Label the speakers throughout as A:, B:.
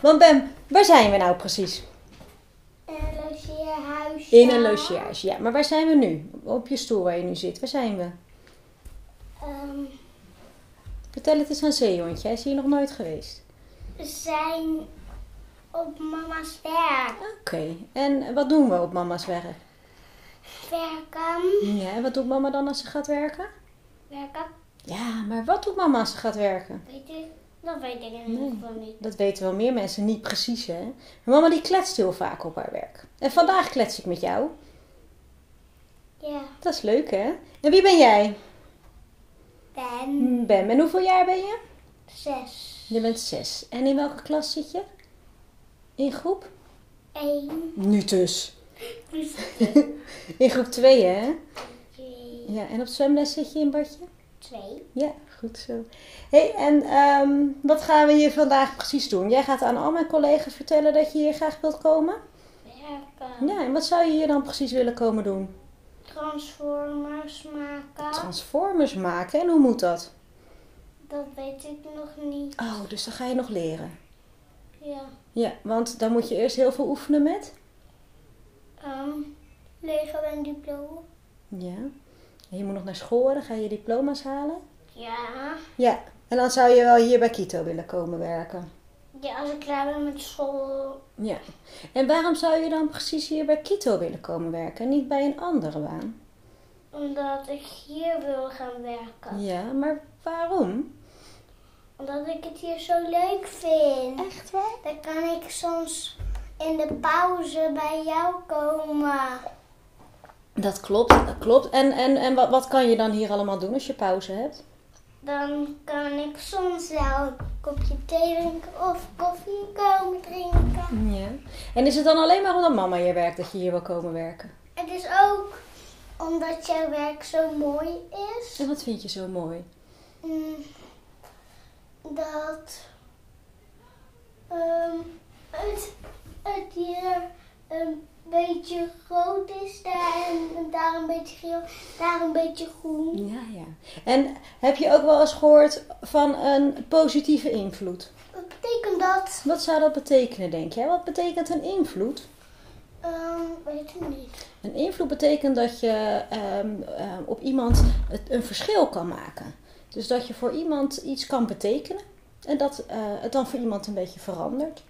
A: Want Bem, waar zijn we nou precies?
B: Een logeerhuisje.
A: In een logeerhuis, ja. Maar waar zijn we nu? Op je stoel waar je nu zit, waar zijn we?
B: Ehm,
A: Vertel het eens aan Zeehondje, hij is hier nog nooit geweest.
B: we zijn op mama's werk.
A: Oké, en wat doen we op mama's werk?
B: Werken.
A: Ja, en wat doet mama dan als ze gaat werken?
B: Werken.
A: Ja, maar wat doet mama als ze gaat werken?
B: Weet ik? Dat weet ik in ieder geval niet.
A: Dat weten wel meer mensen niet precies, hè? Maar mama die kletst heel vaak op haar werk. En vandaag klets ik met jou.
B: Ja.
A: Dat is leuk, hè? En wie ben jij?
B: Ben
A: Bem, en hoeveel jaar ben je?
B: zes.
A: Je bent zes. En in welke klas zit je? In groep?
B: Eén.
A: Nu dus.
B: Plus
A: In groep 2, hè?
B: twee.
A: Ja, en op zwemles zit je in badje?
B: Twee.
A: Ja, goed zo. hey, en ehm, wat gaan we hier vandaag precies doen? Jij gaat aan al mijn collega's vertellen dat je hier graag wilt komen.
B: Werken.
A: Ja, en wat zou je hier dan precies willen komen doen?
B: Transformers
A: Ah.
B: maken.
A: Transformers maken, en hoe moet dat?
B: dat weet ik nog niet.
A: Oh, dus dat ga je nog leren.
B: Ja.
A: Ja, want dan moet je eerst heel veel oefenen met.
B: Ehm, Lego en Duplo.
A: Ja. En je moet nog naar school, hè, dan ga je diploma's halen.
B: Ja.
A: Ja, en dan zou je wel hier bij Kito willen komen werken.
B: Ja, als ik klaar ben met school.
A: Ja. En waarom zou je dan precies hier bij Kito willen komen werken en niet bij een andere baan?
B: Omdat ik hier wil gaan werken.
A: Ja, maar waarom?
B: Omdat ik het hier zo leuk vind.
A: Echt waar?
B: Dan kan ik soms in de pauze bij jou komen.
A: Dat klopt, dat klopt. En, en, en wat, wat kan je dan hier allemaal doen als je pauze hebt?
B: Dan kan ik soms wel een kopje thee drinken of koffie komen drinken.
A: Ja. En is het dan alleen maar omdat mama hier werkt dat je hier wil komen werken?
B: Het is ook omdat jouw werk zo mooi is.
A: En wat vind je zo mooi?
B: Mm, Dat ehm, het, het hier een beetje rood is daar en daar een beetje geel, daar een beetje groen.
A: Ja, ja. En heb je ook wel eens gehoord van een positieve invloed?
B: Wat betekent dat?
A: Wat zou dat betekenen, denk jij? Wat betekent een invloed?
B: Ehm, weet ik niet.
A: Een invloed betekent dat je ehm, ehm, op iemand het, een verschil kan maken. Dus dat je voor iemand iets kan betekenen en dat eh, het dan voor iemand een beetje verandert.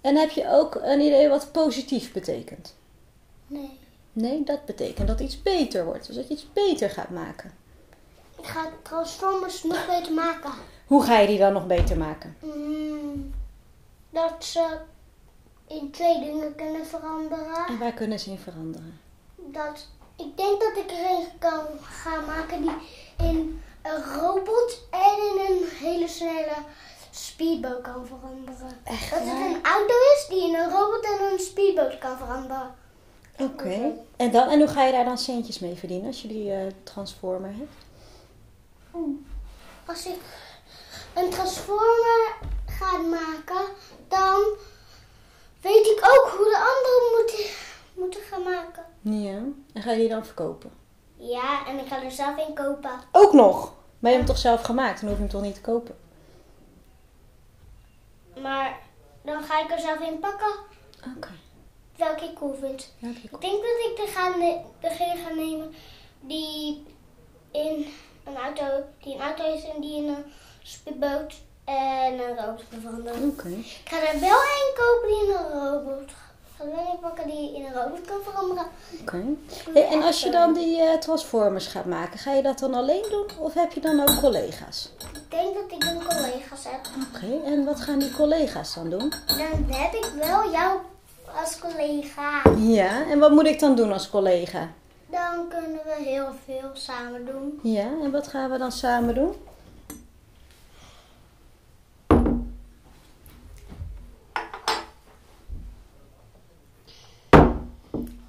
A: En heb je ook een idee wat positief betekent?
B: Nee.
A: Nee, dat betekent dat iets beter wordt. Dus dat je iets beter gaat maken.
B: Ik ga Transformers nog beter maken.
A: Hoe ga je die dan nog beter maken?
B: Mm, dat ze in twee dingen kunnen veranderen.
A: En waar kunnen ze in veranderen?
B: Dat, ik denk dat ik er een kan gaan maken die in een robot en in een hele snelle speedboot kan veranderen.
A: Echt
B: Dat
A: waar?
B: het een auto is die in een robot en een speedboot kan veranderen.
A: Oké. En, dan, en hoe ga je daar dan centjes mee verdienen als je die eh, transformer hebt?
B: Als ik een transformer ga maken, dan weet ik ook hoe de anderen moeten, moeten gaan maken.
A: Ja. En ga je die dan verkopen?
B: Ja, en ik ga er zelf in kopen.
A: Ook nog. Maar je hebt hem toch zelf gemaakt, dan hoef je hem toch niet te kopen.
B: Maar dan ga ik er zelf in pakken
A: Oké.
B: welke ik cool vind.
A: Ja, oké,
B: Ik
A: cool.
B: denk dat ik de ga ne- degene ga nemen die in een auto, die een auto is en die in een speedboot en een robot kan veranderen.
A: Oké.
B: Ik ga er wel één kopen die in een robot. Ik ga er wel één pakken die in een robot kan veranderen.
A: oké. Hey, en als je dan die eh, transformers gaat maken, ga je dat dan alleen doen of heb je dan ook collega's?
B: Ik denk dat ik dan collega's heb.
A: Oké. En wat gaan die collega's dan doen?
B: Dan heb ik wel jou als collega.
A: Ja. En wat moet ik dan doen als collega?
B: Dan kunnen we heel veel samen doen.
A: Ja. En wat gaan we dan samen doen?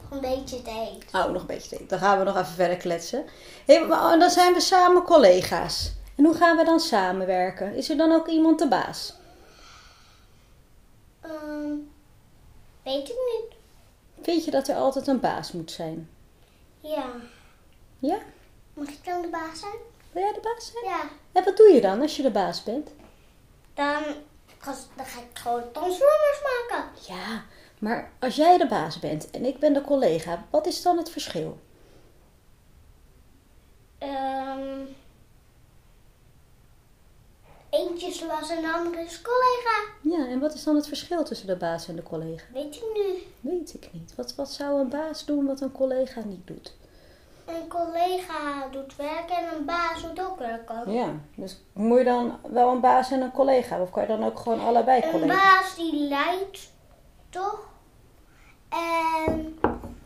B: Nog een beetje thee.
A: Oh, nog een beetje. thee. Dan gaan we nog even verder kletsen. Hey, maar, oh, dan zijn we samen collega's. En hoe gaan we dan samenwerken? Is er dan ook iemand de baas?
B: Ehm, weet ik niet.
A: Vind je dat er altijd een baas moet zijn?
B: Ja.
A: Ja?
B: Mag ik dan de baas zijn?
A: Wil jij de baas zijn?
B: Ja.
A: En wat doe je dan als je de baas bent?
B: Dan gas- dan ga ik gewoon transformers maken.
A: Ja, maar als jij de baas bent en ik ben de collega, wat is dan het verschil?
B: Ehm eentje is was en de andere is collega.
A: Ja, en wat is dan het verschil tussen de baas en de collega?
B: Weet ik nu.
A: Weet ik niet. Wat, wat zou een baas doen wat een collega niet doet?
B: Een collega doet werk en een baas doet ook werk. ook.
A: Ja, dus moet je dan wel een baas en een collega hebben? Of kan je dan ook gewoon allebei
B: Een
A: collega's?
B: baas die leidt, toch? En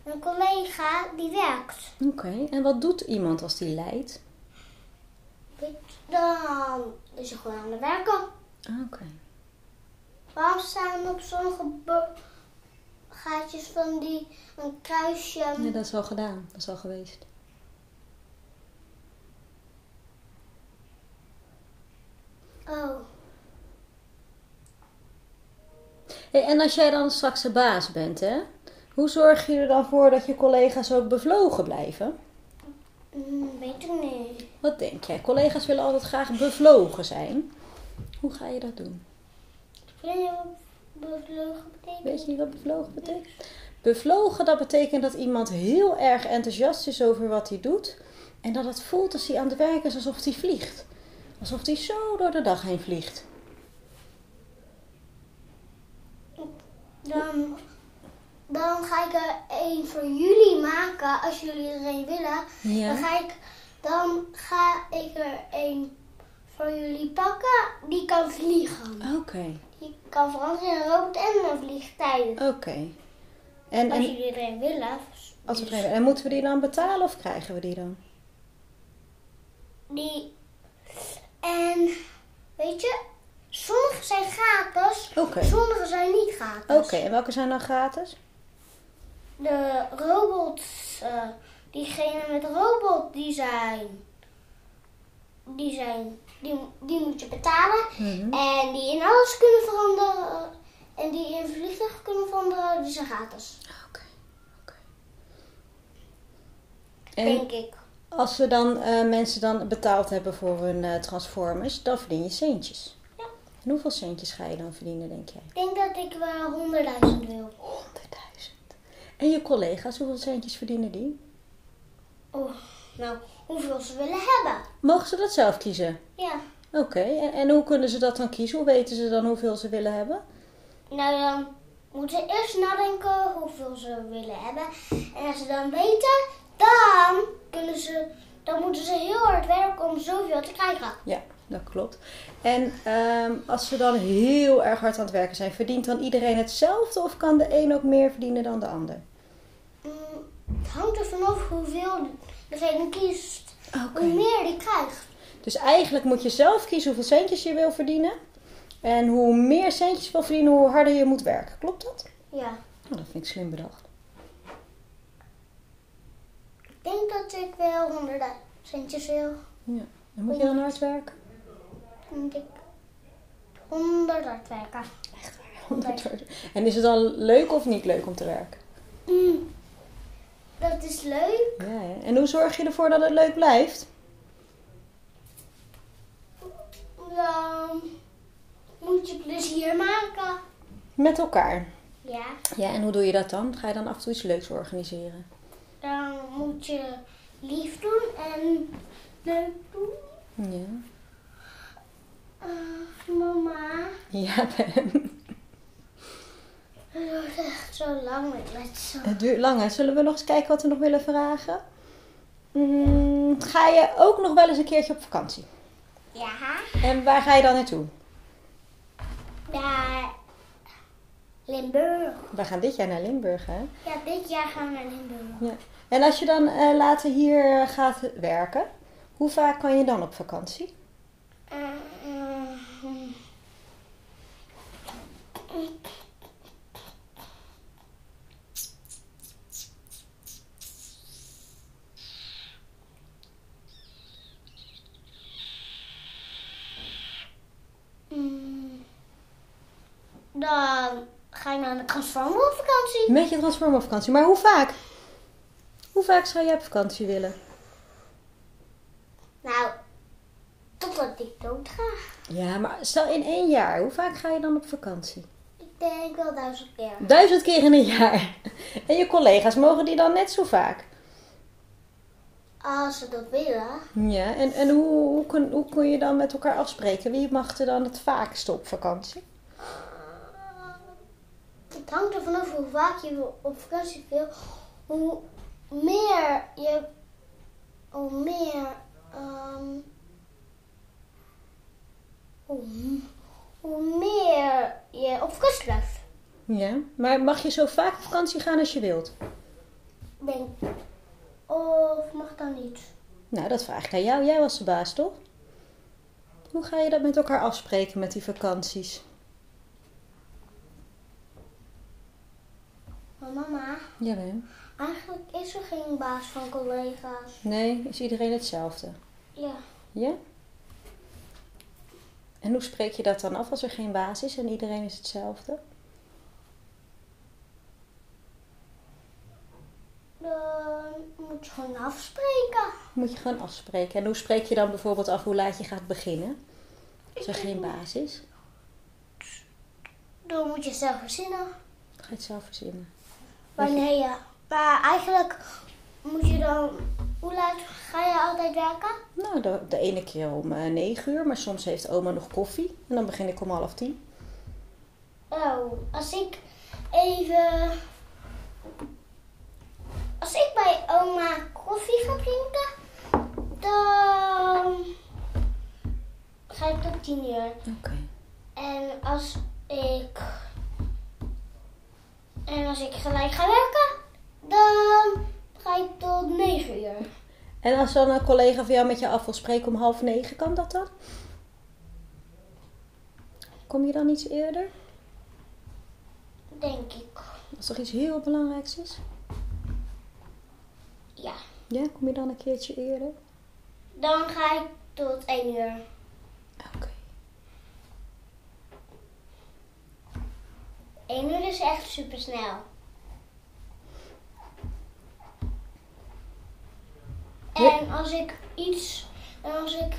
B: een collega die werkt.
A: Oké, en wat doet iemand als die leidt?
B: Dan is hij gewoon aan het werken.
A: Ah, Oké.
B: Waarom staan op sommige bo- gaatjes van die een kruisje?
A: Ja, dat is al gedaan. Dat is al geweest.
B: Oh,
A: Hey, en als jij dan straks de baas bent, hè? Hoe zorg je er dan voor dat je collega's ook bevlogen blijven?
B: mm, weet ik niet.
A: Wat denk jij? Collega's willen altijd graag bevlogen zijn. Hoe ga je dat doen?
B: Vind je wat bevlogen betekent?
A: Weet je wat bevlogen betekent? Bevlogen, dat betekent dat iemand heel erg enthousiast is over wat hij doet. En dat het voelt als hij aan het werk is alsof hij vliegt. Alsof hij zo door de dag heen vliegt.
B: Dan, dan ga ik er één voor jullie maken als jullie er één willen. Dan,
A: Ja.
B: ga ik, dan ga ik er één voor jullie pakken. Die kan vliegen.
A: Oké,
B: Die kan veranderen in een robot en een vliegtuig.
A: oké. En,
B: Als
A: en,
B: jullie er één willen.
A: als we, en moeten we die dan betalen of krijgen we die dan?
B: Die. En weet je, sommige zijn gratis,
A: Oké.
B: sommige zijn niet gratis.
A: Oké, en welke zijn dan gratis?
B: De robots, eh, diegenen met robot, die zijn. Die zijn. Die, die moet je betalen. En die in alles kunnen veranderen. En die in vliegtuig kunnen veranderen, die zijn gratis.
A: Oké, oké.
B: Denk
A: En
B: ik.
A: als we dan eh, mensen dan betaald hebben voor hun eh, Transformers, dan verdien je centjes.
B: Ja.
A: En hoeveel centjes ga je dan verdienen, denk jij?
B: Ik denk dat ik wel 100.000 wil.
A: 100.000. En je collega's, hoeveel centjes verdienen die?
B: Oh, nou, hoeveel ze willen hebben.
A: Mogen ze dat zelf kiezen?
B: Ja.
A: Oké, en, en hoe kunnen ze dat dan kiezen? Hoe weten ze dan hoeveel ze willen hebben?
B: Nou, dan moeten ze eerst nadenken hoeveel ze willen hebben. En als ze dan weten, dan, kunnen ze, dan moeten ze heel hard werken om zoveel te krijgen.
A: Ja, dat klopt. En ehm, als ze dan heel erg hard aan het werken zijn, verdient dan iedereen hetzelfde of kan de een ook meer verdienen dan de ander?
B: Mm, het hangt er vanaf hoeveel degene kiest.
A: Oké.
B: Hoe meer die krijgt.
A: Dus eigenlijk moet je zelf kiezen hoeveel centjes je wil verdienen. En hoe meer centjes je wil verdienen, hoe harder je moet werken. Klopt dat?
B: Ja.
A: Nou, dat vind ik slim bedacht.
B: Ik denk dat ik wel 100 centjes wil.
A: Ja. En moet je dan hard werken?
B: Denk ik. 100 hard werken.
A: Echt waar. En is het dan leuk of niet leuk om te werken?
B: Mm, Dat is leuk.
A: Ja, hè? En hoe zorg je ervoor dat het leuk blijft?
B: Dan moet je plezier maken.
A: Met elkaar.
B: Ja.
A: Ja, en hoe doe je dat dan? Ga je dan af en toe iets leuks organiseren?
B: Dan moet je lief doen en leuk doen.
A: Ja.
B: Ah, mama,
A: Ja, Ben.
B: het wordt echt zo lang met kletsen.
A: Het duurt lang, hè? Zullen we nog eens kijken wat we nog willen vragen? Mm, ga je ook nog wel eens een keertje op vakantie?
B: Ja,
A: En waar ga je dan naartoe?
B: daar. Limburg.
A: We gaan dit jaar naar Limburg, hè?
B: Ja, dit jaar gaan we naar Limburg.
A: Ja. En als je dan eh, later hier eh, gaat werken, hoe vaak kan je dan op vakantie?
B: Eh, eh, hm. Mm. Dan ga ik naar de Transformer op vakantie.
A: Met je transformer vakantie, maar hoe vaak? Hoe vaak zou jij op vakantie willen?
B: Nou, totdat ik dood ga.
A: Ja, maar stel in één jaar, hoe vaak ga je dan op vakantie?
B: Ik denk wel duizend keer.
A: Duizend keer in een jaar. En je collega's mogen die dan net zo vaak?
B: Als ze dat willen.
A: Ja, en, en hoe, hoe, kun, hoe kun je dan met elkaar afspreken? Wie mag er dan het vaakst op vakantie?
B: Het hangt er vanaf hoe vaak je op vakantie wil. Hoe meer je. Hoe meer. ehm, hoe, hoe meer je op vakantie blijft.
A: Ja, maar mag je zo vaak op vakantie gaan als je wilt?
B: Denk. Of mag dat niet?
A: Nou, dat vraag ik aan jou. Jij was de baas, toch? Hoe ga je dat met elkaar afspreken met die vakanties?
B: Maar mama,
A: Jawel.
B: eigenlijk is er geen baas van collega's.
A: Nee, is iedereen hetzelfde?
B: Ja.
A: Ja? En hoe spreek je dat dan af als er geen baas is en iedereen is hetzelfde?
B: Dan moet je gewoon afspreken.
A: Moet je gewoon afspreken. En hoe spreek je dan bijvoorbeeld af hoe laat je gaat beginnen? Als er geen baas is?
B: Dan moet je zelf verzinnen.
A: Dat ga je het zelf verzinnen.
B: Wanneer je. Maar eigenlijk moet je dan. Hoe laat ga je altijd werken?
A: Nou, de, de ene keer om eh, negen uur, maar soms heeft oma nog koffie. En dan begin ik om half tien.
B: Nou, als ik even. Als ik bij oma koffie ga drinken, dan ga ik tot tien uur.
A: Oké.
B: En als ik. En als ik gelijk ga werken, dan ga ik tot 9 uur.
A: En als dan een collega van jou met je af wil spreken om half negen, kan dat dan? Kom je dan iets eerder?
B: Denk ik.
A: Als er iets heel belangrijks is?
B: Ja.
A: Ja, kom je dan een keertje eerder?
B: Dan ga ik tot 1 uur.
A: Oké.
B: 1 uur is echt super snel.
A: Ja.
B: En als ik iets. En als ik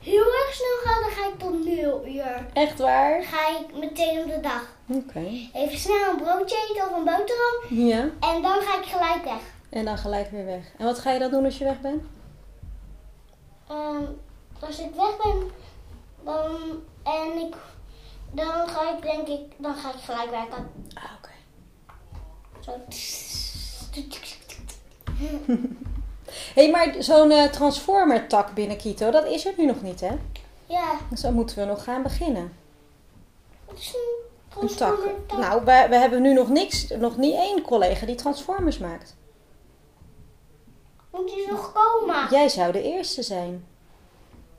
B: heel erg snel ga, dan ga ik tot 0 uur.
A: Echt
B: Dan
A: waar?
B: ga ik meteen op de dag.
A: Oké.
B: Even snel een broodje eten of een boterham.
A: Ja.
B: En dan ga ik gelijk weg.
A: En dan gelijk weer weg. En wat ga je dan doen als je weg bent?
B: Ehm, als ik weg ben, dan, en ik, dan ga ik denk ik, dan ga ik gelijk werken.
A: Ah, oké.
B: Zo.
A: Hé, hey, maar zo'n eh, transformer-tak binnen Quito, dat is er nu nog niet, hè?
B: Ja,
A: Dus dan moeten we nog gaan beginnen.
B: het is een
A: Een tak.
B: transformer tak.
A: Nou, we, we hebben nu nog niks, nog niet één collega die transformers maakt.
B: Moet je nog komen?
A: Jij zou de eerste zijn.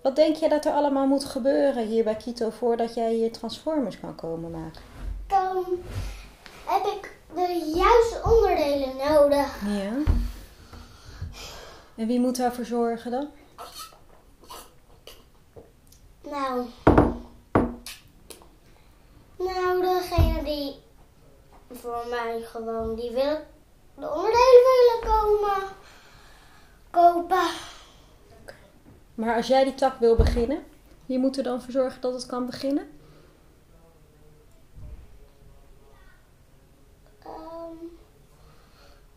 A: Wat denk jij dat er allemaal moet gebeuren hier bij Quito voordat jij hier transformers kan komen maken?
B: Dan heb ik de juiste onderdelen nodig.
A: Ja. En wie moet daarvoor zorgen dan?
B: Nou. Nou, degene die voor mij gewoon, die wil de onderdelen willen komen. Kopen.
A: Maar als jij die tak wil beginnen, je moet er dan voor zorgen dat het kan beginnen?
B: Ehm,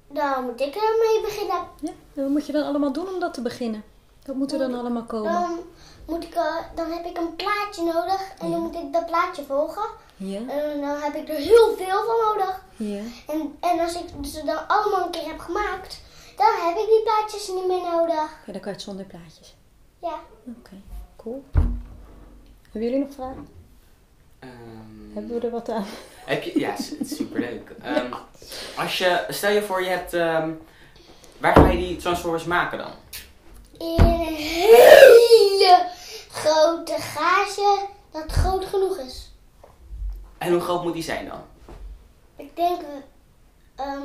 B: dan moet ik ermee beginnen.
A: Ja. En wat moet je dan allemaal doen om dat te beginnen? Dat moet er dan allemaal komen.
B: Dan, moet ik, eh, dan heb ik een plaatje nodig en dan moet ik dat plaatje volgen.
A: Ja.
B: En dan heb ik er heel veel van nodig.
A: Ja.
B: En, en als ik ze dan allemaal een keer heb gemaakt, dan heb ik die plaatjes niet meer nodig.
A: Oké, dan kan je het zonder plaatjes.
B: Ja.
A: Oké, cool. Hebben jullie nog vragen?
C: Ehm,
A: Hebben we er wat aan?
C: heb je, ja, s- superleuk. Ehm, als je, stel je voor, je hebt. ehm, waar ga je die Transformers maken dan?
B: In een hele grote garage dat groot genoeg is.
C: En hoe groot moet die zijn dan?
B: Ik denk ehm,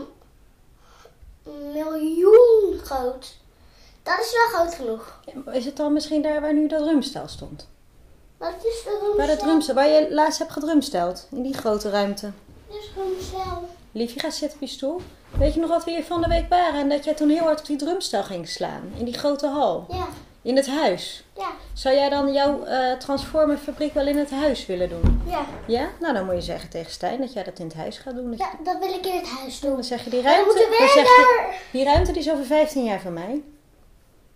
B: een miljoen groot. Dat is wel groot genoeg.
A: Is het dan misschien daar waar nu dat drumstel stond?
B: Wat is de roomsel?
A: Waar dat drumstel, waar je laatst hebt gedrumsteld. In die grote ruimte.
B: Dit is roomsel.
A: Liefje, ga zitten op je stoel. Weet je nog wat we hier van de week waren en dat jij toen heel hard op die drumstel ging slaan? In die grote hal.
B: Ja.
A: In het huis.
B: Ja,
A: Zou jij dan jouw eh transformerfabriek wel in het huis willen doen?
B: ja.
A: Ja? Nou, dan moet je zeggen tegen Stijn dat jij dat in het huis gaat doen. Dat je-
B: ja dat wil ik in het huis doen.
A: Dan zeg je die
B: Maar we
A: ruimte.
B: moeten
A: dan zeg je,
B: verder.
A: die ruimte die is over 15 jaar van mij.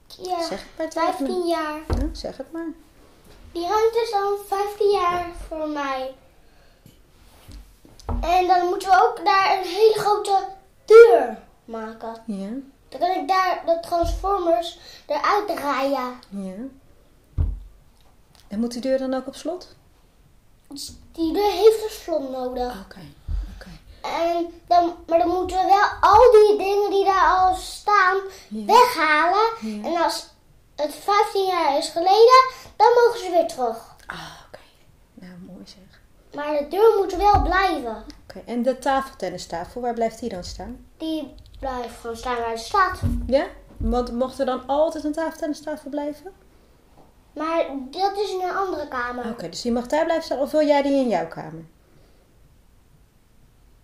B: Ja,
A: Zeg het maar tegen hem.
B: 15 jaar.
A: Ja, zeg het maar.
B: Die ruimte is dan 15 jaar voor mij. En dan moeten we ook daar een hele grote deur maken.
A: Ja,
B: Dan kan ik daar de Transformers eruit draaien.
A: ja. En moet die deur dan ook op slot?
B: Dus die deur heeft een slot nodig.
A: Oké, oké.
B: En dan, maar dan moeten we wel al die dingen die daar al staan
A: Ja.
B: weghalen.
A: Ja.
B: En als het 15 jaar is geleden, dan mogen ze weer terug.
A: Ah, oké. Nou, mooi zeg.
B: Maar de deur moet wel blijven.
A: Oké, en de tafeltennistafel, waar blijft die dan staan?
B: Die blijft gewoon staan waar ze staat.
A: Ja? Want mocht er dan altijd een tafeltennistafel blijven?
B: Maar dat is in een andere kamer.
A: Oké, dus die mag daar blijven staan of wil jij die in jouw kamer?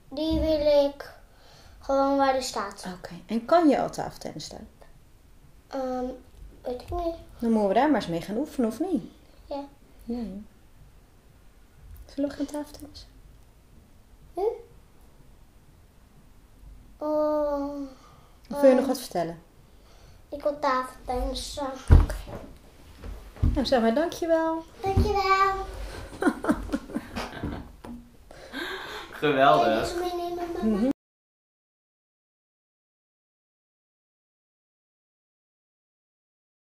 B: Die wil ik gewoon waar die staat.
A: Ah, Oké, en kan je al tafeltennis staan?
B: Ehm, weet ik niet.
A: Dan moeten we daar maar eens mee gaan oefenen, of niet?
B: Ja.
A: Ja, ja. Zullen we gaan tafeltennis?
B: Oh,
A: Of wil je
B: Ehm.
A: nog wat vertellen?
B: ik wil tafeltennissen.
A: Nou, zeg maar dankjewel.
B: Dankjewel.
C: Geweldig.
B: Kan je deze meenemen, mama?
A: Mhm.